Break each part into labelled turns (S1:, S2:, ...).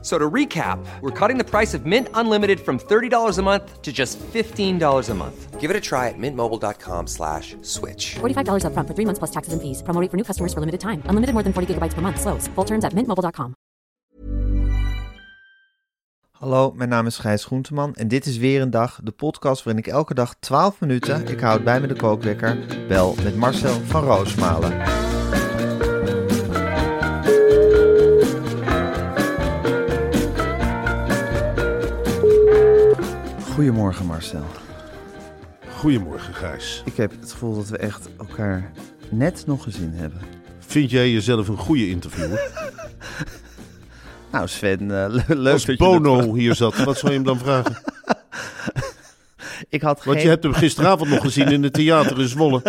S1: So to recap, we're cutting the price of Mint Unlimited from $30 a month to just $15 a month. Give it a try at mintmobile.com slash switch.
S2: $45 upfront for three months plus taxes and fees. Promo rate for new customers for limited time. Unlimited more than 40 gigabytes per month. Slows. Full terms at mintmobile.com.
S3: Hallo, mijn naam is Gijs Groenteman en dit is weer een dag, de podcast waarin ik elke dag 12 minuten, ik houd bij me de kookwekker, bel met Marcel van Roosmalen. Goedemorgen Marcel.
S4: Goedemorgen, Gijs.
S3: Ik heb het gevoel dat we echt elkaar net nog gezien hebben.
S4: Vind jij jezelf een goede interviewer?
S3: Nou Sven, eh, le- leuk
S4: Als
S3: dat je dat-
S4: Bono hier zat, wat zou je hem dan vragen?
S3: Ik had geen...
S4: Want je hebt hem gisteravond nog gezien in het theater in Zwolle.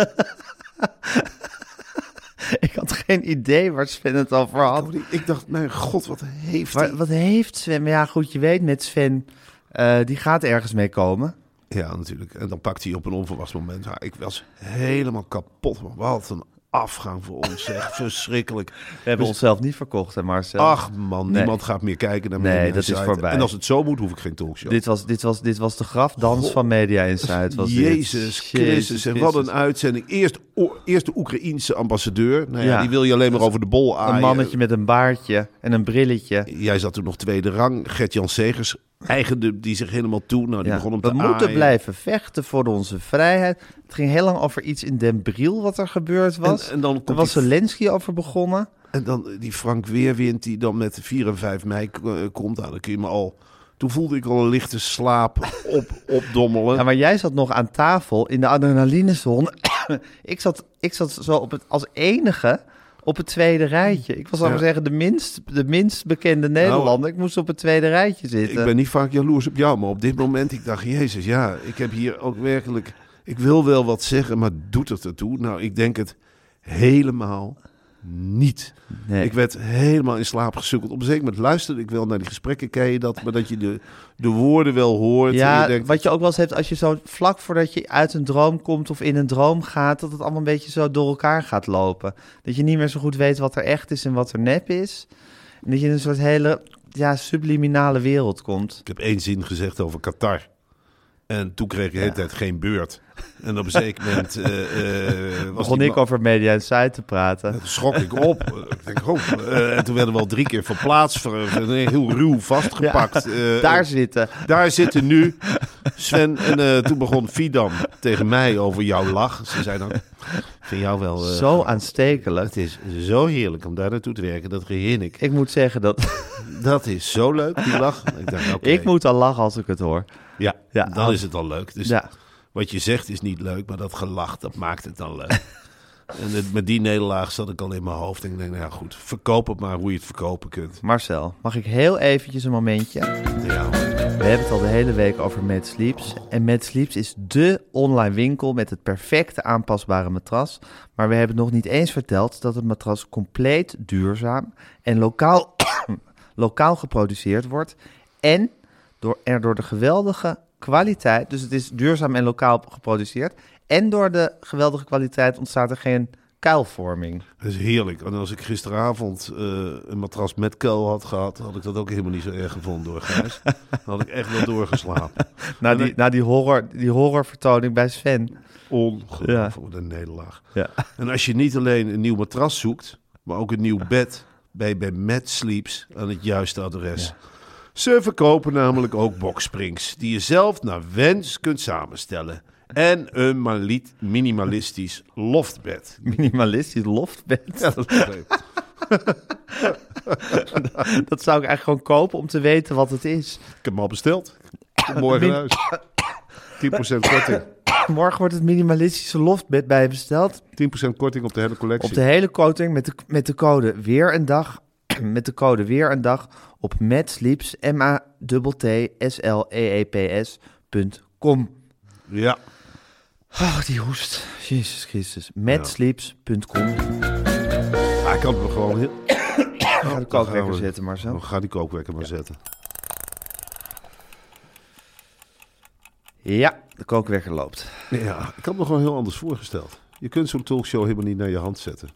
S3: Ik had geen idee waar Sven het over had.
S4: Ik dacht, mijn god, wat heeft
S3: Waar- wat heeft Sven? Maar ja, goed, je weet met Sven, eh, die gaat ergens mee komen.
S4: Ja, natuurlijk. En dan pakt hij op een onverwachts moment. Ja, ik was helemaal kapot. man. Wat een afgang voor ons, zeg. Verschrikkelijk.
S3: We hebben onszelf niet verkocht, hè Marcel?
S4: Ach man,
S3: Nee.
S4: niemand gaat meer kijken naar
S3: Nee,
S4: Media
S3: dat is
S4: Insight.
S3: voorbij.
S4: En als het zo moet, hoef ik geen talkshow.
S3: Dit was, dit, was, dit was de grafdans van Media Insight. Was dit.
S4: Jezus Christus, en wat
S3: Christus.
S4: een uitzending. Eerst, o- eerst de Oekraïense ambassadeur. Nou ja,
S3: Ja.
S4: die wil je alleen maar over de bol aan.
S3: Een mannetje met een baardje en een brilletje.
S4: Jij zat toen nog tweede rang. Gert-Jan Segers eigende die zich helemaal toe. Nou, die
S3: Ja.
S4: begon hem
S3: We
S4: te
S3: moeten
S4: aaien.
S3: blijven vechten voor onze vrijheid. Het ging heel lang over iets in Den Briel wat er gebeurd was.
S4: En- en dan komt
S3: Daar was
S4: die-
S3: Zelensky over begonnen.
S4: En dan eh, die Frank Weerwind die dan met 4 en 5 mei k- eh, komt. Nou, dan kun je me al... Toen voelde ik al een lichte slaap op, opdommelen.
S3: Ja, maar jij zat nog aan tafel in de adrenalinezon. ik, zat, ik zat zo op het, als enige op het tweede rijtje. Ik was, zal ik maar
S4: Ja. Nou,
S3: zeggen, de minst, de minst bekende Nederlander. ik moest op het eh, tweede rijtje zitten.
S4: Ik ben niet vaak jaloers op jou, maar op dit moment ik dacht, Jezus, ja, ik heb hier ook werkelijk. Ik wil wel wat zeggen, maar doet het ertoe? Nou, ik denk het helemaal niet.
S3: Nee.
S4: Ik werd helemaal in slaap gesukkeld. Op een zeker moment luisterde ik wel naar die gesprekken, ken je dat? Maar dat je de, de woorden wel hoort. en
S3: Ja,
S4: je denkt,
S3: wat je ook wel eens hebt als je zo vlak voordat je uit een droom komt of in een droom gaat, dat het allemaal een beetje zo door elkaar gaat lopen. Dat je niet meer zo goed weet wat er echt is en wat er nep is. En dat je in een soort hele ja, subliminale wereld komt.
S4: Ik heb één zin gezegd over Qatar. En toen kreeg ik de hele tijd geen beurt. En op een zeker moment... eh, eh, was
S3: Begon
S4: die
S3: ik
S4: man-
S3: over media en site te praten.
S4: Toen schrok ik op. ik denk, oh. eh, en toen werden we al drie keer verplaatst, ver- ver- heel ruw vastgepakt. Eh,
S3: Daar
S4: en
S3: zitten.
S4: daar zitten nu Sven en eh, toen begon Fidam tegen mij over jouw lach. Ze zei dan, vind jou wel... eh,
S3: Zo aanstekelijk.
S4: Het is zo heerlijk om daar naartoe te werken, dat begin ik.
S3: Ik moet zeggen dat
S4: Dat is zo leuk, die lach. Ik dacht, oké.
S3: ik moet al lachen als ik het hoor.
S4: Ja,
S3: Ja,
S4: dan
S3: als-
S4: is het al leuk. Dus
S3: Ja.
S4: wat je zegt is niet leuk, maar dat gelach, dat maakt het dan leuk. en het- met die nederlaag zat ik al in mijn hoofd. En ik denk, nou ja, goed, verkoop het maar hoe je het verkopen kunt.
S3: Marcel, mag ik heel eventjes een momentje?
S4: Ja.
S3: We hebben het al de hele week over Mad Sleeps. En Mad Sleeps is dé online winkel met het perfecte aanpasbare matras. Maar we hebben nog niet eens verteld dat het matras compleet duurzaam en lokaal, lokaal geproduceerd wordt. En door, er door de geweldige kwaliteit, dus het is duurzaam en lokaal geproduceerd. En door de geweldige kwaliteit ontstaat er geen kuilvorming.
S4: Dat is heerlijk. En als ik gisteravond eh, een matras met kuil had gehad, had ik dat ook helemaal niet zo erg gevonden door Gijs. Dan had ik echt wel doorgeslapen.
S3: Na die,
S4: dan-
S3: na die, horror, die horrorvertoning bij Sven.
S4: Ongelooflijk, wat een nederlaag.
S3: Ja.
S4: En als je niet alleen een nieuw matras zoekt, maar ook een nieuw bed, ben je bij Mad Sleeps aan het juiste adres. Ze verkopen namelijk ook boksprings, die je zelf naar wens kunt samenstellen. En een maliet- minimalistisch loftbed.
S3: Minimalistisch loftbed.
S4: Ja, dat is leuk.
S3: Dat zou ik eigenlijk gewoon kopen om te weten wat het is.
S4: Ik heb hem al besteld. Morgen
S3: Min-
S4: huis. 10% korting.
S3: Morgen wordt het minimalistische loftbed bijbesteld.
S4: 10% korting op de hele collectie.
S3: Op de hele coating met de, met de code weer een dag. Met de code weer een dag op matsleeps, m a t s l e e p s.com.
S4: Ja.
S3: Ach, Oh, die hoest. Jezus Christus. Matsleeps.com.
S4: Ah, ik kan het me gewoon heel...
S3: Ga de kookwekker zetten, Marcel.
S4: Oh, ga die kookwekker maar zetten.
S3: Ja, de kookwekker loopt.
S4: Ja, ik had me gewoon heel anders voorgesteld. Je kunt zo'n talkshow helemaal niet naar je hand zetten.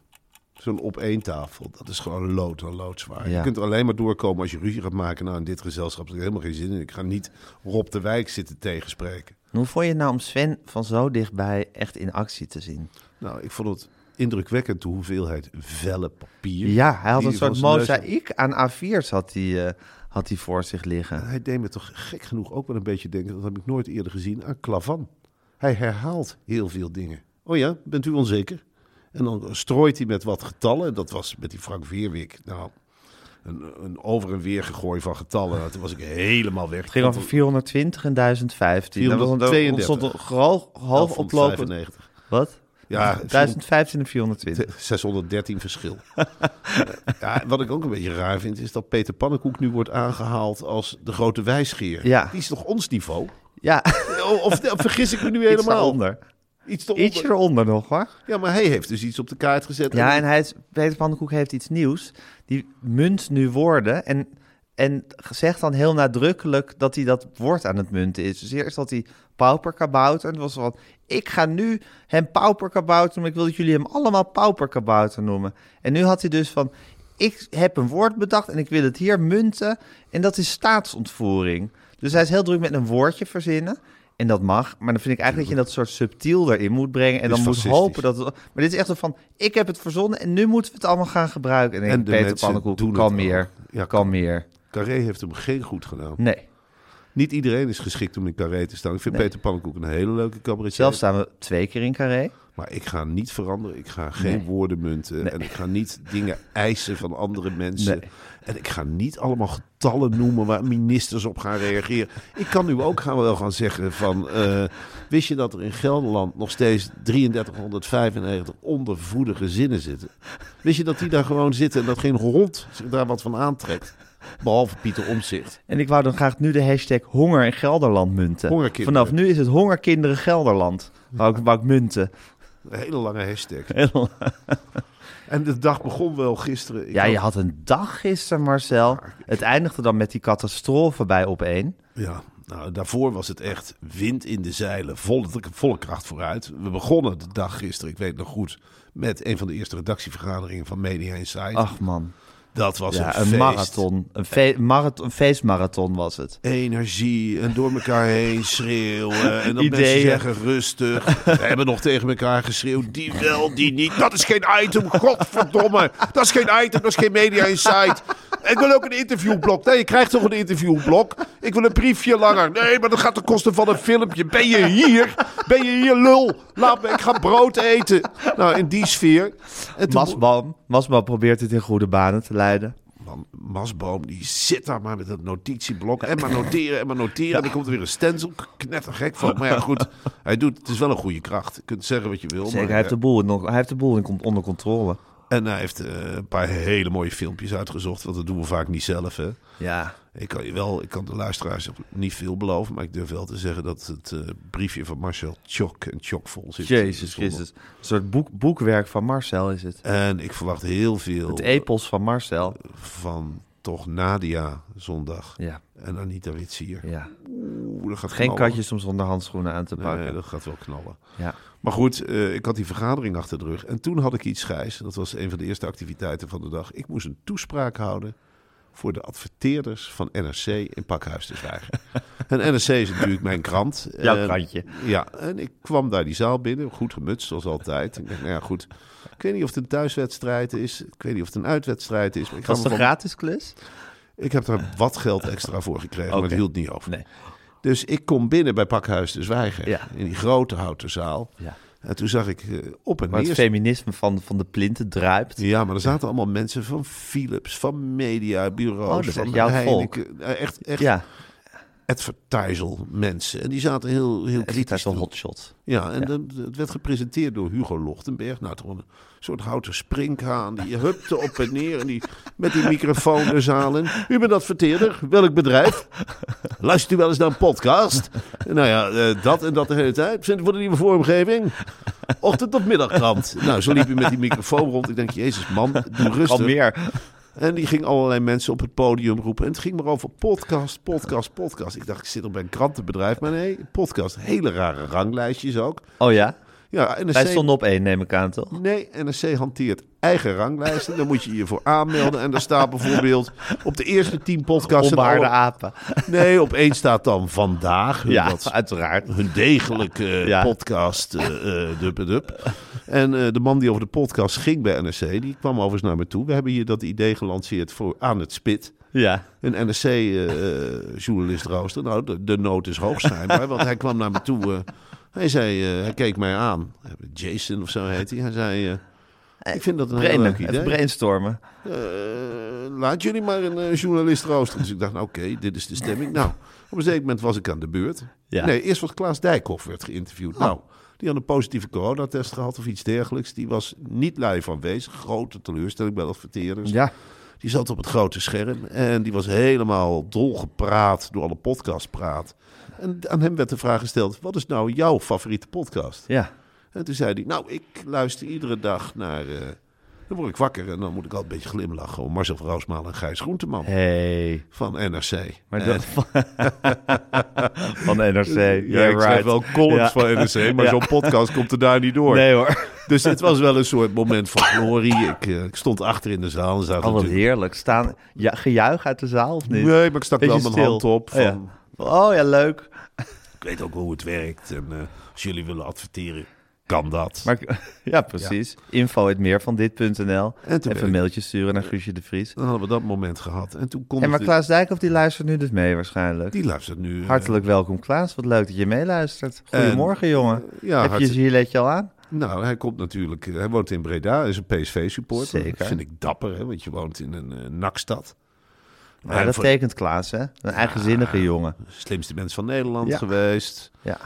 S4: Zo'n op één tafel, dat is gewoon lood en loodzwaar.
S3: Ja.
S4: Je kunt er alleen maar doorkomen als je ruzie gaat maken. Nou, in dit gezelschap heb ik helemaal geen zin in. Ik ga niet Rob de Wijk zitten tegenspreken.
S3: En Hoe vond je het nou om Sven van zo dichtbij echt in actie te zien?
S4: Nou, ik vond het indrukwekkend de hoeveelheid velle papier.
S3: Ja, hij had
S4: die
S3: een soort
S4: van zijn neus-
S3: mozaïek aan A4's had hij, eh, had hij voor zich liggen.
S4: Hij deed me toch gek genoeg ook wel een beetje denken, dat heb ik nooit eerder gezien, aan Klavan. Hij herhaalt heel veel dingen. Oh ja, bent u onzeker? En dan strooit hij met wat getallen. Dat was met die Frank Weerwijk. Nou, een, een over en weer gegooi van getallen. Nou, Toen was ik helemaal weg.
S3: Het ging over 420 en 1015. Dat was een- er ontstond
S4: 432.
S3: een hoog, hoog oplopend...
S4: 1195.
S3: Wat?
S4: Ja,
S3: 1015 en 420.
S4: 613 verschil. Eh, ja, wat ik ook een beetje raar vind, is dat Peter Pannenkoek nu wordt aangehaald als de grote wijsgeer.
S3: Ja.
S4: Die is toch ons niveau?
S3: Ja,
S4: Of, of nou, vergis ik me nu
S3: iets
S4: helemaal?
S3: daaronder.
S4: Iets te
S3: Ietsje eronder nog, hoor.
S4: Ja, maar hij heeft dus iets op de kaart gezet.
S3: Ja, en hij is, Peter van den Koek heeft iets nieuws. Die munt nu woorden en, en zegt dan heel nadrukkelijk dat hij dat woord aan het munten is. Dus eerst had hij pauperkabouter. En het was van, ik ga nu hem pauperkabouter noemen. Ik wil dat jullie hem allemaal pauperkabouter noemen. En nu had hij dus van, ik heb een woord bedacht en ik wil het hier munten. En dat is staatsontvoering. Dus hij is heel druk met een woordje verzinnen. En dat mag, maar dan vind ik eigenlijk dat je dat soort subtiel erin moet brengen. En
S4: Dit
S3: dan
S4: is
S3: moet
S4: fascistisch.
S3: hopen dat het- Maar dit is echt zo van, ik heb het verzonnen en nu moeten we het allemaal gaan gebruiken. En, dan denk
S4: de
S3: ik, Peter
S4: mensen
S3: Pannenkoek,
S4: doen
S3: kan
S4: het ook.
S3: meer.
S4: Ja,
S3: kan meer.
S4: Carré heeft hem geen goed gedaan.
S3: Nee.
S4: Niet iedereen is geschikt om in Carré te staan. Ik vind Peter Pannenkoek een hele leuke cabaretier.
S3: Zelf staan we twee keer in Carré.
S4: Maar ik ga niet veranderen. Ik ga geen woorden munten. En ik ga niet dingen eisen van andere mensen.
S3: Nee.
S4: En ik ga niet allemaal getallen noemen waar ministers op gaan reageren. Ik kan nu ook gaan wel gaan zeggen van... eh, wist je dat er in Gelderland nog steeds 3395 ondervoede gezinnen zitten? Wist je dat die daar gewoon zitten en dat geen hond zich daar wat van aantrekt? Behalve Pieter Omzicht.
S3: En ik wou dan graag nu de hashtag honger in Gelderland munten.
S4: Hongerkinderen.
S3: Vanaf nu is het hongerkinderen Gelderland. Wou ik, wou ik munten.
S4: Een hele lange hashtag. En de dag begon wel gisteren. Ik
S3: Ja,
S4: had-
S3: je had een dag gisteren, Marcel. Het eindigde dan met die catastrofe bij op één.
S4: Ja, nou, daarvoor was het echt wind in de zeilen, volle, volle kracht vooruit. We begonnen de dag gisteren, ik weet nog goed, met een van de eerste redactievergaderingen van Media Insight.
S3: Ach man.
S4: dat was
S3: Ja,
S4: een,
S3: een,
S4: feest.
S3: marathon. Een, fe- marathon. een feestmarathon was het.
S4: Energie en door elkaar heen schreeuwen. En dan mensen
S3: Ideeën.
S4: zeggen rustig. We hebben nog tegen elkaar geschreeuwd. Die wel, die niet. Dat is geen item, godverdomme. Dat is geen item, dat is geen media insight. Ik wil ook een interviewblok. Nee, je krijgt toch een interviewblok? Ik wil een briefje langer. Nee, maar dat gaat ten koste van een filmpje. Ben je hier? Ben je hier, lul? Laat me, ik ga brood eten. Nou, in die sfeer. En toen-
S3: Masboom. Masboom probeert het in goede banen te leiden.
S4: Man, Masboom, die zit daar maar met dat notitieblok. En maar noteren, en maar noteren. En dan komt er weer een stencil. Knettergek van. Maar ja, goed. Hij doet, het is wel een goede kracht. Je kunt zeggen wat je wil.
S3: Zeker,
S4: maar,
S3: hij heeft de
S4: ja.
S3: boel, in- hij heeft de boel in- onder controle.
S4: En hij heeft eh, een paar hele mooie filmpjes uitgezocht. Want dat doen we vaak niet zelf, hè.
S3: Ja.
S4: Ik kan, je wel, ik kan de luisteraars niet veel beloven. Maar ik durf wel te zeggen dat het eh, briefje van Marcel tjok en tjokvol zit.
S3: Jezus Christus. Een soort boek, boekwerk van Marcel is het.
S4: En ik verwacht heel veel
S3: Het epos van Marcel.
S4: van toch Nadia zondag.
S3: Ja,
S4: En Anita Witsier.
S3: ja.
S4: Oeh, dat gaat
S3: Geen
S4: knallen.
S3: katjes om zonder handschoenen aan te pakken.
S4: Nee, Nou, dat gaat wel knallen.
S3: Ja.
S4: Maar goed, eh, ik had die vergadering achter de rug. En toen had ik iets, Gijs. Dat was een van de eerste activiteiten van de dag. Ik moest een toespraak houden voor de adverteerders van NRC in Pakhuis te Zwijgen. en NRC is natuurlijk mijn krant.
S3: Jouw
S4: En-
S3: krantje.
S4: Ja, en ik kwam daar die zaal binnen. Goed gemutst, zoals altijd. Ik dacht, nou ja, goed. Ik weet niet of het een thuiswedstrijd is. Ik weet niet of het een uitwedstrijd is. Maar ik, ga
S3: Was
S4: me
S3: het een
S4: van-
S3: gratis klus?
S4: ik heb daar wat geld extra voor gekregen, maar
S3: Oké.
S4: het hield niet over.
S3: Nee.
S4: Dus ik kom binnen bij Pakhuis de Zwijger.
S3: Ja.
S4: In die grote houten zaal.
S3: Ja.
S4: En toen zag ik eh, op en
S3: Waar
S4: neer...
S3: het feminisme van, van de plinten druipt.
S4: Ja, maar er zaten allemaal mensen van Philips, van mediabureaus,
S3: Oh, dat is
S4: van
S3: echt jouw
S4: Heineken. Eh, Echt, echt.
S3: Ja.
S4: advertisal mensen. En die zaten heel, heel
S5: Het lied
S4: kritisch.
S5: is een
S4: te-
S5: hotshot.
S4: Ja, en dan- het werd gepresenteerd door Hugo Lochtenberg. Nou, toch een soort houten springhaan. Die hupte op en neer en die, met die microfoon de zaal in. U bent adverteerder, welk bedrijf? Luistert u wel eens naar een podcast? Nou ja, eh, dat en dat de hele tijd. Zit voor de nieuwe vormgeving? Ochtend- of middagkrant? Nou, zo liep hij met die microfoon rond. Ik denk, jezus man, doe
S5: Kan
S4: rustig.
S5: meer.
S4: En die ging allerlei mensen op het podium roepen. En het ging maar over podcast, podcast, podcast. Ik dacht, ik zit op bij een krantenbedrijf. Maar nee, podcast. Hele rare ranglijstjes ook.
S5: Oh ja?
S4: Ja, NRC,
S5: Wij stonden op één, neem ik aan, toch?
S4: Nee, NRC hanteert eigen ranglijsten. Daar moet je je voor aanmelden. En daar staat bijvoorbeeld op de eerste tien podcasts... en
S5: Onbaarde
S4: alle-
S5: apen.
S4: Nee, op één staat dan vandaag. Hun,
S5: Ja,
S4: dat-
S5: uiteraard.
S4: hun degelijke eh,
S5: Ja.
S4: podcast, eh eh, dup en dup. En eh, de man die over de podcast ging bij NRC, die kwam overigens naar me toe. We hebben hier dat idee gelanceerd voor Aan het Spit.
S5: Ja.
S4: Een NRC-journalist eh, rooster. Nou, de, de nood is hoog schijnbaar, want hij kwam naar me toe. eh, hij zei, eh, hij keek mij aan. Jason of zo heet hij. Hij zei, eh, ik vind dat een heel
S5: Brainen.
S4: leuk
S5: Even
S4: idee.
S5: brainstormen.
S4: Eh, laat jullie maar een eh, journalist roosten. Dus ik dacht, nou, oké, dit is de stemming. Nou, op een zeker moment was ik aan de beurt.
S5: Ja.
S4: Nee, eerst was Klaas Dijkhoff werd geïnterviewd. Nou, die had een positieve coronatest gehad of iets dergelijks. Die was niet live aanwezig. Grote teleurstelling bij adverteerders.
S3: Ja,
S4: Die zat op het grote scherm en die was helemaal dolgepraat door alle podcastpraat. En aan hem werd de vraag gesteld, wat is nou jouw favoriete podcast?
S3: ja.
S4: En toen zei hij, nou, ik luister iedere dag naar... eh, dan word ik wakker en dan moet ik altijd een beetje glimlachen... om Marcel van Roosmalen en Gijs Groenteman
S3: Hey.
S4: van NRC.
S3: Maar
S4: En-
S3: dat... van NRC.
S4: ja,
S3: Yeah,
S4: ik schrijf
S3: right.
S4: wel columns
S3: Ja.
S4: van NRC, maar
S3: Ja.
S4: zo'n podcast komt er daar niet door.
S3: Nee hoor.
S4: Dus het was wel een soort moment van glorie. Ik, eh, ik stond achter in de zaal en zaten
S5: Oh, wat
S4: natuurlijk...
S5: heerlijk. Staan, ja, gejuich uit de zaal of niet?
S4: Nee, maar ik stak wel
S5: Beetje
S4: mijn
S5: stil.
S4: hand op
S5: Oh, ja.
S4: van-
S5: Oh ja, leuk.
S4: Ik weet ook hoe het werkt. En eh, als jullie willen adverteren, kan dat.
S5: Maar, ik- ja,
S3: Precies. Info het meer van dit.nl.
S4: En toen
S3: Even
S4: ben
S3: een
S4: ik-
S3: mailtje sturen naar Guusje de Vries.
S4: dan hadden we dat moment gehad. En toen kon
S3: En maar
S4: de-
S3: Klaas Dijkhoff die luistert nu dus mee waarschijnlijk.
S4: die luistert nu. eh,
S3: Hartelijk welkom Klaas, wat leuk dat je meeluistert. Goedemorgen jongen.
S4: ja,
S3: Heb je je
S4: hartelijk-
S3: giletje al aan?
S4: Nou, hij komt natuurlijk. eh, Hij woont in Breda, is een PSV-supporter.
S3: Zeker.
S4: Dat vind ik dapper, hè, want je woont in een eh, nakstad.
S3: Maar dat tekent Klaas hè, een eigenzinnige jongen.
S4: Slimste mens van Nederland
S3: Ja.
S4: geweest.
S3: Ja.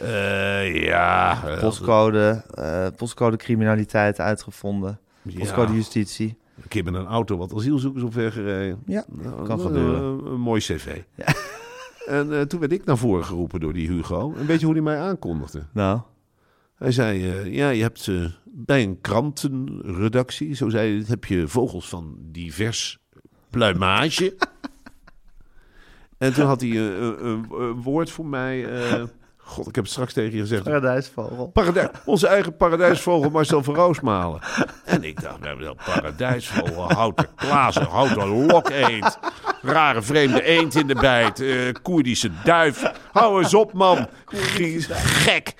S4: Eh, ja. eh,
S3: Postcode, eh, postcode criminaliteit uitgevonden.
S4: Ja.
S3: Postcode justitie.
S4: Een keer met een auto wat asielzoekers omver gereden.
S3: Ja,
S4: Nou,
S3: kan
S4: eh,
S3: gebeuren.
S4: Een mooi cv. En eh, toen werd ik naar voren geroepen door die Hugo. En weet je hoe hij mij aankondigde?
S3: Nou,
S4: Hij zei, eh, ja, je hebt eh, bij een krantenredactie, zo zei hij, het, heb je vogels van divers pluimage. en toen had hij eh, een een- een woord voor mij, eh, god, ik heb het straks tegen je gezegd.
S3: paradijsvogel.
S4: Paradij- onze eigen paradijsvogel Marcel van Roosmalen. En ik dacht, bij mezelf, paradijsvogel, houten klazen, houten lokeend. Rare vreemde eend in de bijt, eh, Koerdische duif. Hou eens op, man. Gie- Gek.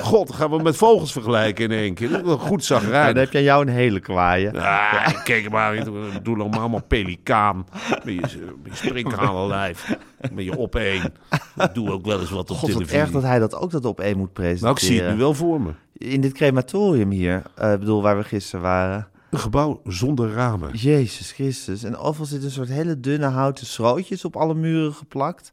S4: God, gaan we met vogels vergelijken in één keer. Goed zag
S3: Nou, dan
S4: rijden.
S3: heb jij jou een hele kwaaie.
S4: Ah, ik keek hem aan. Ik Doe dan maar allemaal pelikaan. Met je, met je springhanenlijf. Met je op één. Ik doe ook wel eens wat op
S3: God, wat
S4: televisie.
S3: erg dat hij dat ook dat op één moet
S4: Nou,
S3: presenteren.
S4: ik zie het nu wel voor me.
S3: In dit crematorium hier, eh, ik bedoel waar we gisteren waren.
S4: Een gebouw zonder ramen.
S3: Jezus Christus. En overal zit een soort hele dunne houten schrootjes op alle muren geplakt.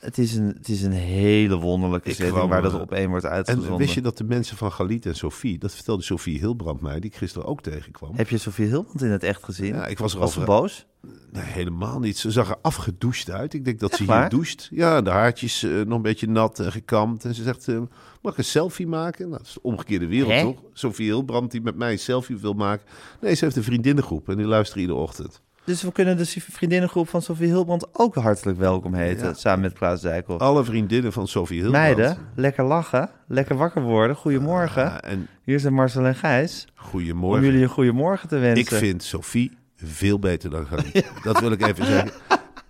S3: Het is een, het is een hele wonderlijke
S4: Ik
S3: setting
S4: kwam,
S3: waar dat
S4: eh,
S3: op één wordt
S4: En
S3: uitgezonden.
S4: wist je dat de mensen van Galit en Sofie, dat vertelde Sofie Hilbrand mij, die ik gisteren ook tegenkwam.
S3: Heb je Sofie Hilmond in het echt gezien?
S4: Ja, ik was er
S3: Was ze
S4: over-
S3: boos?
S4: Nee, helemaal niet. Ze zag er afgedoucht uit. Ik denk dat ze
S3: waar?
S4: hier doucht. Ja, de haartjes eh, nog een beetje nat en gekamd. En ze zegt, eh, mag ik een selfie maken? Nou, dat is de omgekeerde wereld,
S3: Hè?
S4: toch? Sofie Hilbrand die met mij een selfie wil maken. Nee, ze heeft een vriendinnengroep en die luistert iedere ochtend.
S3: Dus we kunnen de vriendinnengroep van Sofie Hilbrand ook hartelijk welkom heten. Samen met Klaas Dijkhoff.
S4: Alle vriendinnen van Sofie Oh, Hilbrand.
S3: Meiden, lekker lachen, lekker wakker worden. Goedemorgen.
S4: Ja, en
S3: Hier zijn Marcel en Gijs. Om
S4: Ah. goedemorgen.
S3: jullie een goedemorgen te wensen.
S4: Ik vind Sofie veel beter dan Galit. Dat wil ik even zeggen.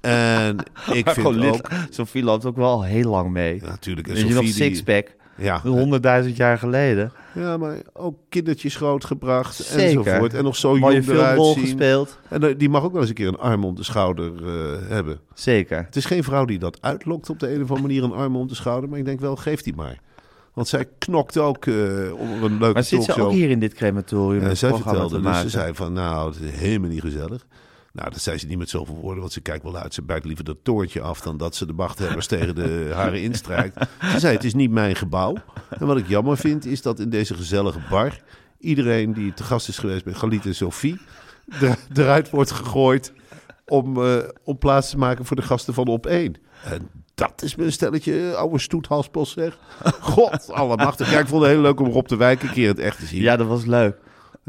S4: En ik
S3: Maar
S4: vind
S3: gewoon lid-
S4: ook...
S3: Sofie loopt ook wel heel lang mee.
S4: Ja, natuurlijk. En
S3: Weet je nog
S4: Sophie die-
S3: Sixpack?
S4: Ja.
S3: Honderdduizend jaar geleden.
S4: ja, maar ook kindertjes grootgebracht
S3: Zeker.
S4: enzovoort. En nog zo
S3: Mooie
S4: jong eruit
S3: filmrol
S4: zien.
S3: gespeeld.
S4: En eh, die mag ook wel eens een keer een arm om de schouder eh, hebben.
S3: Zeker.
S4: Het is geen vrouw die dat uitlokt op de een of andere manier, een arm om de schouder. Maar ik denk wel, geef die maar. Want zij knokt ook eh onder een leuke
S3: Maar zit ze
S4: talkshow.
S3: ook hier in dit crematorium?
S4: Ja,
S3: een
S4: Eh, zij
S3: programma
S4: vertelde,
S3: te
S4: dus ze
S3: maken?
S4: zei van, nou, het is helemaal niet gezellig. Nou, dat zei ze niet met zoveel woorden, want ze kijkt wel uit. Ze buikt liever dat toortje af dan dat ze de machthebbers tegen de haren instrijkt. Ze zei, het is niet mijn gebouw. En wat ik jammer vind, is dat in deze gezellige bar... iedereen die te gast is geweest bij Galit en Sophie... er- eruit wordt gegooid om, eh, om plaats te maken voor de gasten van Op 1. En dat is mijn stelletje, eh, oude stoethalspos zeg. God, allemachtig. Ja, ik vond het heel leuk om Rob de Wijk een keer in het echt te zien.
S3: Ja, dat was leuk.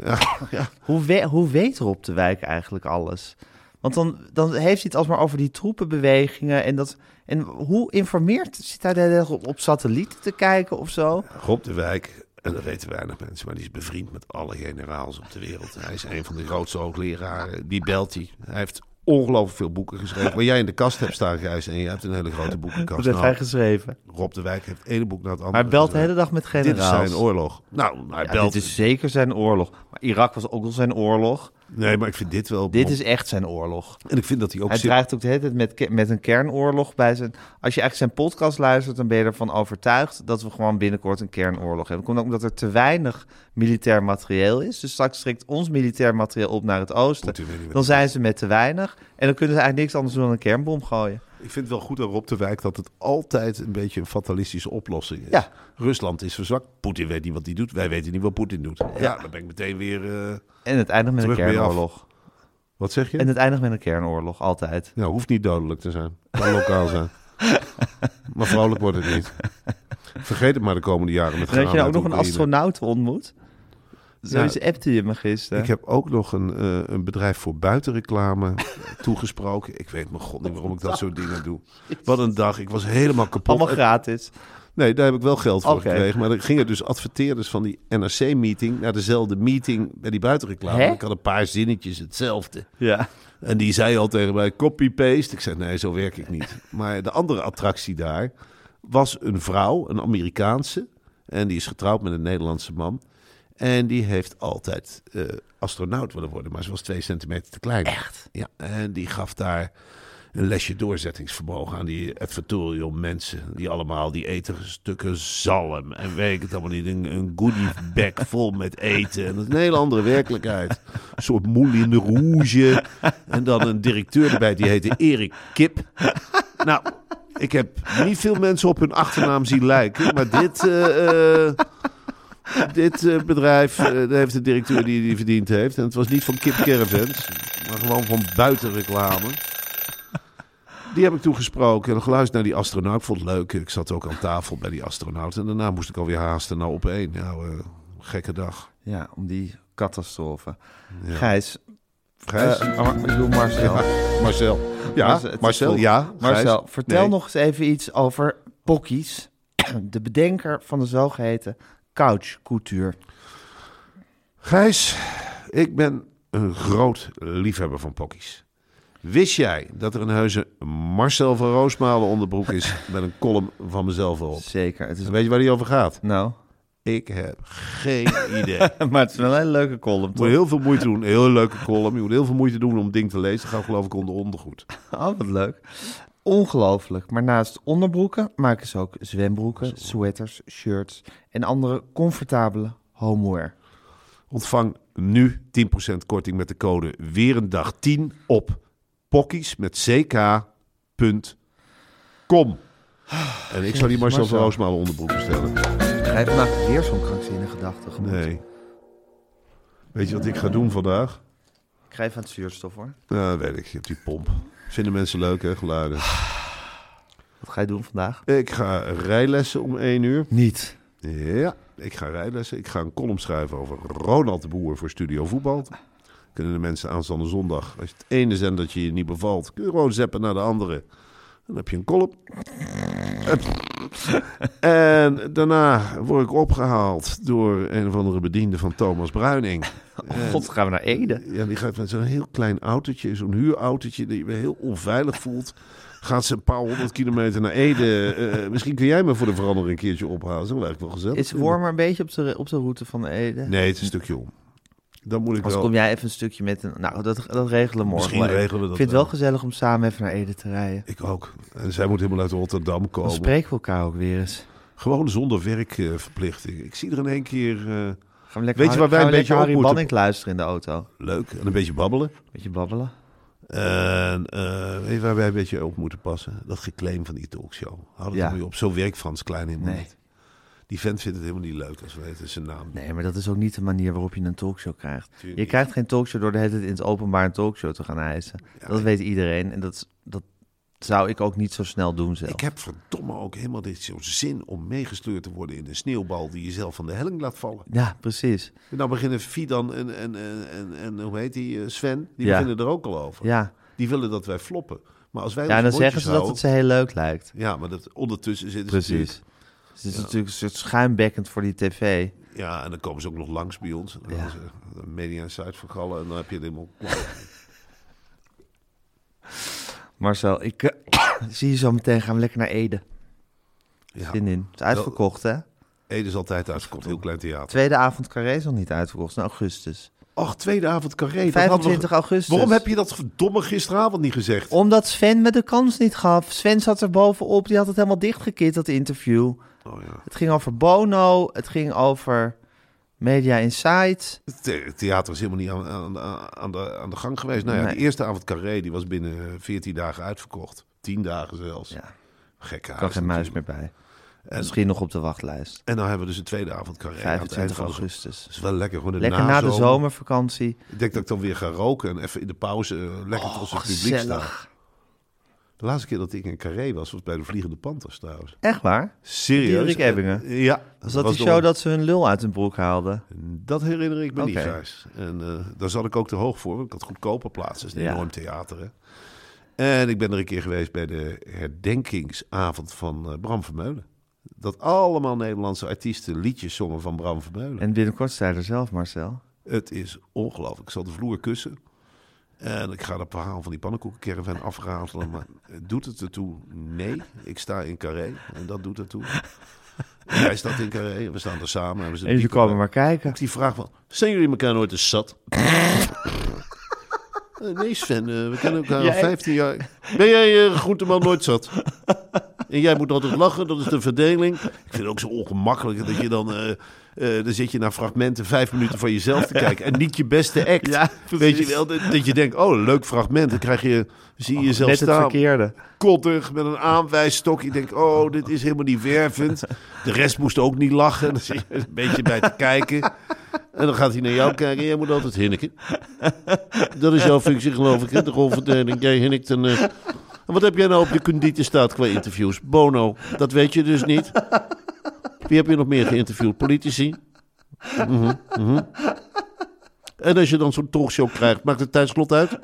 S4: ja.
S3: Hoe, we- hoe weet Rob de Wijk eigenlijk alles? Want dan, dan heeft hij het alsmaar over die troepenbewegingen. En, dat, en hoe informeert? Zit hij de hele dag op, op satellieten te kijken of zo?
S4: Rob de Wijk, en dat weten weinig mensen, maar die is bevriend met alle generaals op de wereld. Hij is een van de grootste hoogleraren. Die belt hij. Hij heeft ongelooflijk veel boeken geschreven. Waar jij in de kast hebt staan, Gijs, en je hebt een hele grote
S3: Dat
S4: boekenkast.
S3: heeft hij
S4: Nou,
S3: geschreven.
S4: Rob de Wijk heeft één boek na het andere.
S3: Maar belt de hele
S4: geschreven.
S3: dag met
S4: Dit is
S3: generaals.
S4: zijn oorlog. Nou, hij
S3: Ja,
S4: belt.
S3: dit is zeker zijn oorlog. Maar Irak was ook al zijn oorlog.
S4: Nee, maar ik vind dit wel.
S3: Dit is echt zijn oorlog.
S4: En ik vind dat hij ook
S3: Hij
S4: zit-
S3: dreigt ook de hele tijd met, ke- met een kernoorlog bij zijn... Als je eigenlijk zijn podcast luistert, dan ben je ervan overtuigd... dat we gewoon binnenkort een kernoorlog hebben. Komt ook omdat er te weinig militair materieel is. Dus straks trekt ons militair materieel op naar het oosten.
S4: Poetin weet niet wat
S3: Dan
S4: hij
S3: zijn ze met te weinig. En dan kunnen ze eigenlijk niks anders doen dan een kernbom gooien.
S4: Ik vind het wel goed aan Rob de Wijk dat het altijd een beetje een fatalistische oplossing is.
S3: Ja.
S4: Rusland is verzwakt. Poetin weet niet wat hij doet. Wij weten niet wat Poetin doet. Ja, dan ben ik meteen weer. eh,
S3: En het eindigt met
S4: Terug
S3: een
S4: ben je af.
S3: kernoorlog.
S4: Wat zeg je?
S3: En het eindigt met een kernoorlog, altijd.
S4: Nou, hoeft niet dodelijk te zijn. Kan lokaal zijn. Maar vrolijk wordt het niet. Vergeet het maar de komende jaren met
S3: En dat je nou
S4: granaten
S3: ook nog een
S4: Oekraïne.
S3: astronaut ontmoet.
S4: Ja.
S3: Zoiets appte je me gisteren.
S4: Ik heb ook nog een, eh, een bedrijf voor buitenreclame toegesproken. Ik weet mijn god niet waarom ik dat soort dingen doe. Wat een dag. Ik was helemaal kapot.
S3: Allemaal gratis.
S4: Nee, daar heb ik wel geld voor
S3: Oké.
S4: gekregen. Maar er gingen dus adverteerders van die NRC-meeting... naar dezelfde meeting bij die buitenreclame.
S3: Hè?
S4: Ik had een paar zinnetjes hetzelfde.
S3: Ja.
S4: En die zei al tegen mij, copy-paste. Ik zei, nee, zo werk ik niet. Maar de andere attractie daar was een vrouw, een Amerikaanse. En die is getrouwd met een Nederlandse man. En die heeft altijd eh, astronaut willen worden, maar ze was twee centimeter te klein. Echt? Ja, en die gaf daar een lesje doorzettingsvermogen aan die advertorium mensen. Die allemaal, die eten stukken zalm en weet ik het allemaal niet. Een, een goodiebag vol met eten. En dat is een hele andere werkelijkheid. Een soort moulin rouge. En dan een directeur erbij, die heette Erik Kip. Nou, ik heb niet veel mensen op hun achternaam zien lijken. Maar dit, eh, eh, dit eh, bedrijf eh, daar heeft de directeur die die verdiend heeft. En het was niet van Kip Caravans, maar gewoon van buitenreclame. Die heb ik toen gesproken en geluisterd naar die astronaut. Ik vond het leuk. Ik zat ook aan tafel bij die astronaut. En daarna moest ik alweer haasten naar op één. Nou, eh, gekke dag.
S3: Ja, om die catastrofe. Gijs,
S4: Gijs? Ah,
S3: eh, Mar- ik bedoel Marcel.
S4: Marcel. Ja,
S3: Marcel,
S4: Marcel.
S3: het is
S4: ja.
S3: Marcel,
S4: Gijs?
S3: vertel
S4: Nee.
S3: nog eens even iets over Pockies, de bedenker van de zogeheten couchcultuur.
S4: Gijs, ik ben een groot liefhebber van pokkies. Wist jij dat er een heuse Marcel van Roosmalen onderbroek is met een column van mezelf erop?
S3: Zeker, het is...
S4: Weet je waar die over gaat?
S3: Nou,
S4: Ik heb geen idee.
S3: maar het is wel een hele leuke column,
S4: Je moet
S3: toch?
S4: heel veel moeite doen. Een heel leuke column. Je moet heel veel moeite doen om het ding te lezen. Ga geloof ik onder ondergoed.
S3: Oh, wat leuk. Ongelooflijk, maar naast onderbroeken maken ze ook zwembroeken, sweaters, shirts en andere comfortabele homeware.
S4: Ontvang nu 10% korting met de code weer een dag 10 op pokkies met ck.com. En ik zou die Marcel van
S3: Marcel.
S4: Roosmalen onderbroek bestellen.
S3: Ga je vandaag weer zo'n krankzinnige gedachte tegemoet?
S4: Nee. Weet je wat ik ga doen vandaag?
S3: Ik ga even aan het zuurstof, hoor.
S4: Nou, weet ik. Je hebt die pomp. Vinden mensen leuk, hè, geluiden.
S3: Wat ga je doen vandaag?
S4: Ik ga rijlessen om 1 uur.
S3: Niet.
S4: Ja, ik ga rijlessen. Ik ga een column schrijven over Ronald de Boer voor Studio Voetbal. Kunnen de mensen aanstaande zondag, als het ene zendertje je niet bevalt, kun je gewoon zeppen naar de andere. Dan heb je een column. En daarna word ik opgehaald door een of andere bediende van Thomas Bruining.
S3: God, gaan we naar Ede?
S4: Ja, die gaat met zo'n heel klein autootje, zo'n huurautootje, die je heel onveilig voelt. Gaat ze een paar honderd kilometer naar Ede. Eh, misschien kun jij me voor de verandering een keertje ophalen. Dat lijkt wel gezellig.
S3: Is Wormer een beetje op de, op de route van Ede?
S4: Nee, het is een stukje om. Dan moet ik
S3: Als
S4: wel.
S3: kom jij even een stukje met een... Nou, dat, dat regelen we morgen.
S4: Misschien
S3: wel even.
S4: regelen we dat
S3: Ik vind het wel
S4: wel.
S3: gezellig om samen even naar Ede te rijden.
S4: Ik ook. En zij moet helemaal uit Rotterdam
S3: Dan
S4: komen.
S3: spreken we elkaar ook weer eens.
S4: Gewoon zonder werkverplichting. Ik zie er in één keer eh,
S3: Gaan we lekker,
S4: Weet je waar wij
S3: gaan
S4: een
S3: we lekker
S4: beetje op
S3: Harry
S4: moeten?
S3: Banning luisteren in de auto?
S4: leuk en een beetje babbelen.
S3: Beetje babbelen.
S4: En eh, weet je waar wij een beetje op moeten passen? Dat geclaim van die talkshow. Houd het
S3: Ja.
S4: er mee op. Zo werkt Frans Klein helemaal
S3: Nee.
S4: niet. Die vent vindt het helemaal niet leuk als we weten zijn naam.
S3: Nee, maar dat is ook niet de manier waarop je een talkshow krijgt.
S4: Tuurlijk
S3: je
S4: niet.
S3: krijgt geen talkshow door de hele tijd in het openbaar een talkshow te gaan eisen. dat weet iedereen en dat, is- dat zou ik ook niet zo snel doen zelf.
S4: Ik heb verdomme ook helemaal dit zo'n zin om meegesleurd te worden in een sneeuwbal die je zelf van de helling laat vallen.
S3: Ja, precies.
S4: En dan beginnen Fidan en, en, en, en, en hoe heet die, eh, Sven, die
S3: Ja.
S4: beginnen er ook al over.
S3: Ja,
S4: Die willen dat wij floppen. Maar als wij
S3: ja en dan
S4: onze
S3: zeggen
S4: mondjes
S3: ze dat het
S4: houden-
S3: ze heel leuk lijkt.
S4: Ja, maar dat, ondertussen zitten ze
S3: Precies.
S4: natuurlijk-
S3: Dus het is natuurlijk een soort schuimbekkend voor die tv.
S4: Ja, en dan komen ze ook nog langs bij ons. En dan
S3: Ja.
S4: is, eh, Media en Zuid vergallen en dan heb je het helemaal...
S3: Marcel, ik eh, zie je zo meteen. Gaan we lekker naar Ede.
S4: Ja.
S3: Zin in. Het is uitverkocht, hè?
S4: Ede is altijd uitgekomen, heel klein theater.
S3: Tweede avond Carré is nog niet uitverkocht. In augustus.
S4: Ach, tweede avond carré. dat hadden we-
S3: 25 augustus.
S4: Waarom heb je dat verdomme gisteravond niet gezegd?
S3: Omdat Sven me de kans niet gaf. Sven zat er bovenop. Die had het helemaal dichtgekit, dat interview.
S4: Oh ja.
S3: Het ging over Bono. Het ging over Media Insight.
S4: Het the- het theater is helemaal niet aan, aan, aan, de, aan de gang geweest. Nou ja,
S3: Nee.
S4: de eerste avond Carré die was binnen eh, 14 dagen uitverkocht. 10 dagen zelfs. Ja.
S3: Ik
S4: Gekke
S3: had
S4: huis.
S3: geen muis meer
S4: natuurlijk.
S3: bij. Misschien nog op de wachtlijst.
S4: En dan hebben we dus een tweede avond Carré. aan het eind
S3: 25
S4: van de-
S3: augustus.
S4: Dat is wel lekker. Gewoon de
S3: Lekker na de zomervakantie.
S4: Ik denk dat ik dan weer ga roken en even in de pauze eh, lekker tot het publiek
S3: Oh, gezellig.
S4: sta. De laatste keer dat ik in Carré was, was bij de Vliegende Panthers trouwens.
S3: Echt waar?
S4: Serieus?
S3: Diederik Ebbingen?
S4: Eh, ja.
S3: Was dat
S4: was
S3: die
S4: door-
S3: show dat ze hun lul uit hun broek haalden?
S4: Dat herinner ik me niet,
S3: Oké.
S4: Gijs. En eh, daar zat ik ook te hoog voor, want ik had goedkope plaatsen. Het is een
S3: Ja.
S4: enorm theater, hè. En ik ben er een keer geweest bij de herdenkingsavond van eh, Bram Vermeulen. Dat allemaal Nederlandse artiesten liedjes zongen van Bram Vermeulen.
S3: En binnenkort sta je er zelf, Marcel.
S4: Het is ongelooflijk. Ik zal de vloer kussen. En ik ga dat verhaal van die pannenkoekencaravan afrazelen. Maar doet het ertoe? Nee. Ik sta in Carré. En dat doet ertoe. En jij staat in Carré. We staan er samen. En we
S3: En
S4: zitten
S3: jullie
S4: diep
S3: komen
S4: in-
S3: maar kijken.
S4: Ook die vraag van... Zijn jullie elkaar nooit eens zat? Eh, nee, Sven. eh, we kennen elkaar al
S3: Jij-
S4: 15 jaar. Ben jij eh groenteman nooit zat? En jij moet altijd lachen, dat is de verdeling. Ik vind het ook zo ongemakkelijk dat je dan... eh, eh, dan zit je naar fragmenten vijf minuten van jezelf te kijken. En niet je beste act.
S3: Ja,
S4: Weet je wel, dat, dat je denkt, oh, leuk fragment. Dan krijg je, zie je jezelf
S3: Net het
S4: staan.
S3: verkeerde.
S4: Kottig, met een aanwijsstok. Je denkt, oh, dit is helemaal niet wervend. De rest moest ook niet lachen. Dan zit je een beetje bij te kijken. En dan gaat hij naar jou kijken. Jij moet altijd hinniken. Dat is jouw functie, geloof ik. Hè? De rolverdeling. Jij hinnikt en... eh, en wat heb jij nou op de conditie staat qua interviews? Bono, dat weet je dus niet. Wie heb je nog meer geïnterviewd? Politici? Mhm, mhm. En als je dan zo'n talkshow krijgt, maakt het tijdslot uit?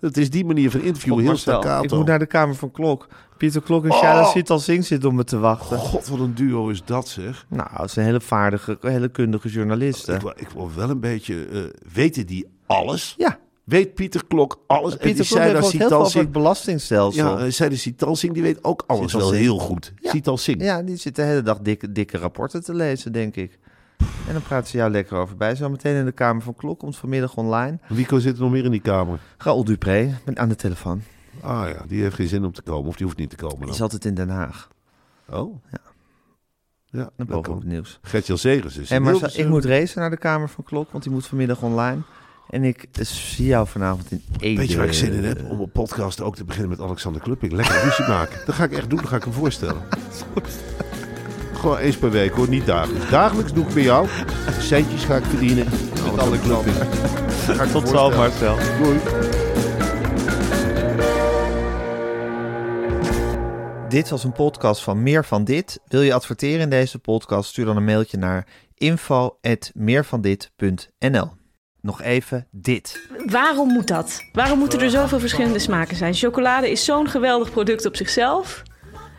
S4: Het is die manier van interviewen, heel
S3: Marcel,
S4: staccato.
S3: ik moet naar de kamer van Klok. Pieter Klok en Shara Sital Singh zitten om me te wachten.
S4: God, wat een duo is dat, zeg.
S3: Nou, het zijn hele vaardige, hele kundige
S4: Ik
S3: journalisten.
S4: word, ik word wel een beetje... eh, weten die alles?
S3: Ja,
S4: Weet Pieter Klok alles?
S3: Pieter
S4: en die
S3: Klok heeft
S4: Seida
S3: ook heel veel over het
S4: Sitalsing...
S3: belastingstelsel.
S4: Ja,
S3: Ja,
S4: eh, Seida Sitalsing, die weet ook alles wel
S3: Sitalsing.
S4: heel goed. Ja. Sitalsing.
S3: die zit de hele dag dikke, dikke rapporten te lezen, denk ik. En dan praat ze jou lekker over bij. Zo meteen in de kamer van Klok, komt vanmiddag online.
S4: Wico zit er nog meer in die kamer.
S3: Raoul Dupré, ben aan de telefoon.
S4: Ah ja, die heeft geen zin om te komen. Of die hoeft niet te komen
S3: Die
S4: dan.
S3: is altijd in Den Haag.
S4: Oh? Ja. Ja,
S3: Dan
S4: dat
S3: boven op
S4: kan.
S3: het nieuws.
S4: Gertjan Segers is
S3: En
S4: in
S3: Marcel,
S4: Hilversum.
S3: ik moet racen naar de kamer van Klok, want die moet vanmiddag online. En ik eh, zie jou vanavond in Ede.
S4: Weet je waar ik zin in heb? Om op podcast ook te beginnen met Alexander Klupping. Lekker ruzie maken. Dat ga ik echt doen, dat ga ik hem voorstellen. Gewoon eens per week hoor, niet dagelijks. Dagelijks doe ik bij jou. Centjes ga ik verdienen. Met Alexander Klupping. Dat ga ik hem
S3: Tot zo,
S4: voorstellen.
S3: Marcel.
S4: Doei.
S3: Dit was een podcast van Meer van Dit. Wil je adverteren in deze podcast? Stuur dan een mailtje naar info.meervandit.nl Nog even dit.
S6: Waarom moet dat? Waarom moeten er zoveel verschillende smaken zijn? Chocolade is zo'n geweldig product op zichzelf.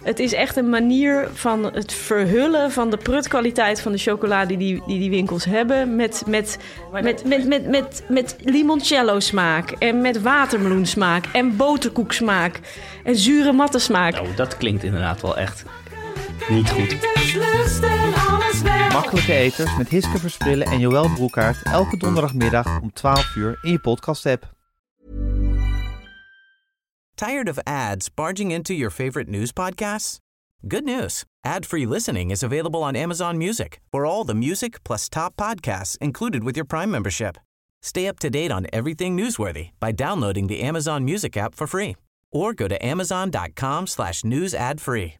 S6: Het is echt een manier van het verhullen van de prutkwaliteit van de chocolade die die, die winkels hebben. Met, met, met, met, met, met, met limoncello smaak en met watermeloen smaak en boterkoek smaak en zure matte smaak.
S7: Oh, dat klinkt inderdaad wel echt niet goed.
S3: Makkelijke eters met Hiske Verspillen en Joël Broekaert. Elke donderdagmiddag om 12 uur in je podcast app.
S8: Tired of ads barging into your favorite news podcasts? Good news. Ad-free listening is available on Amazon Music. For all the music plus top podcasts included with your Prime membership. Stay up to date on everything newsworthy by downloading the Amazon Music app for free or go to amazon.com slash news ad free.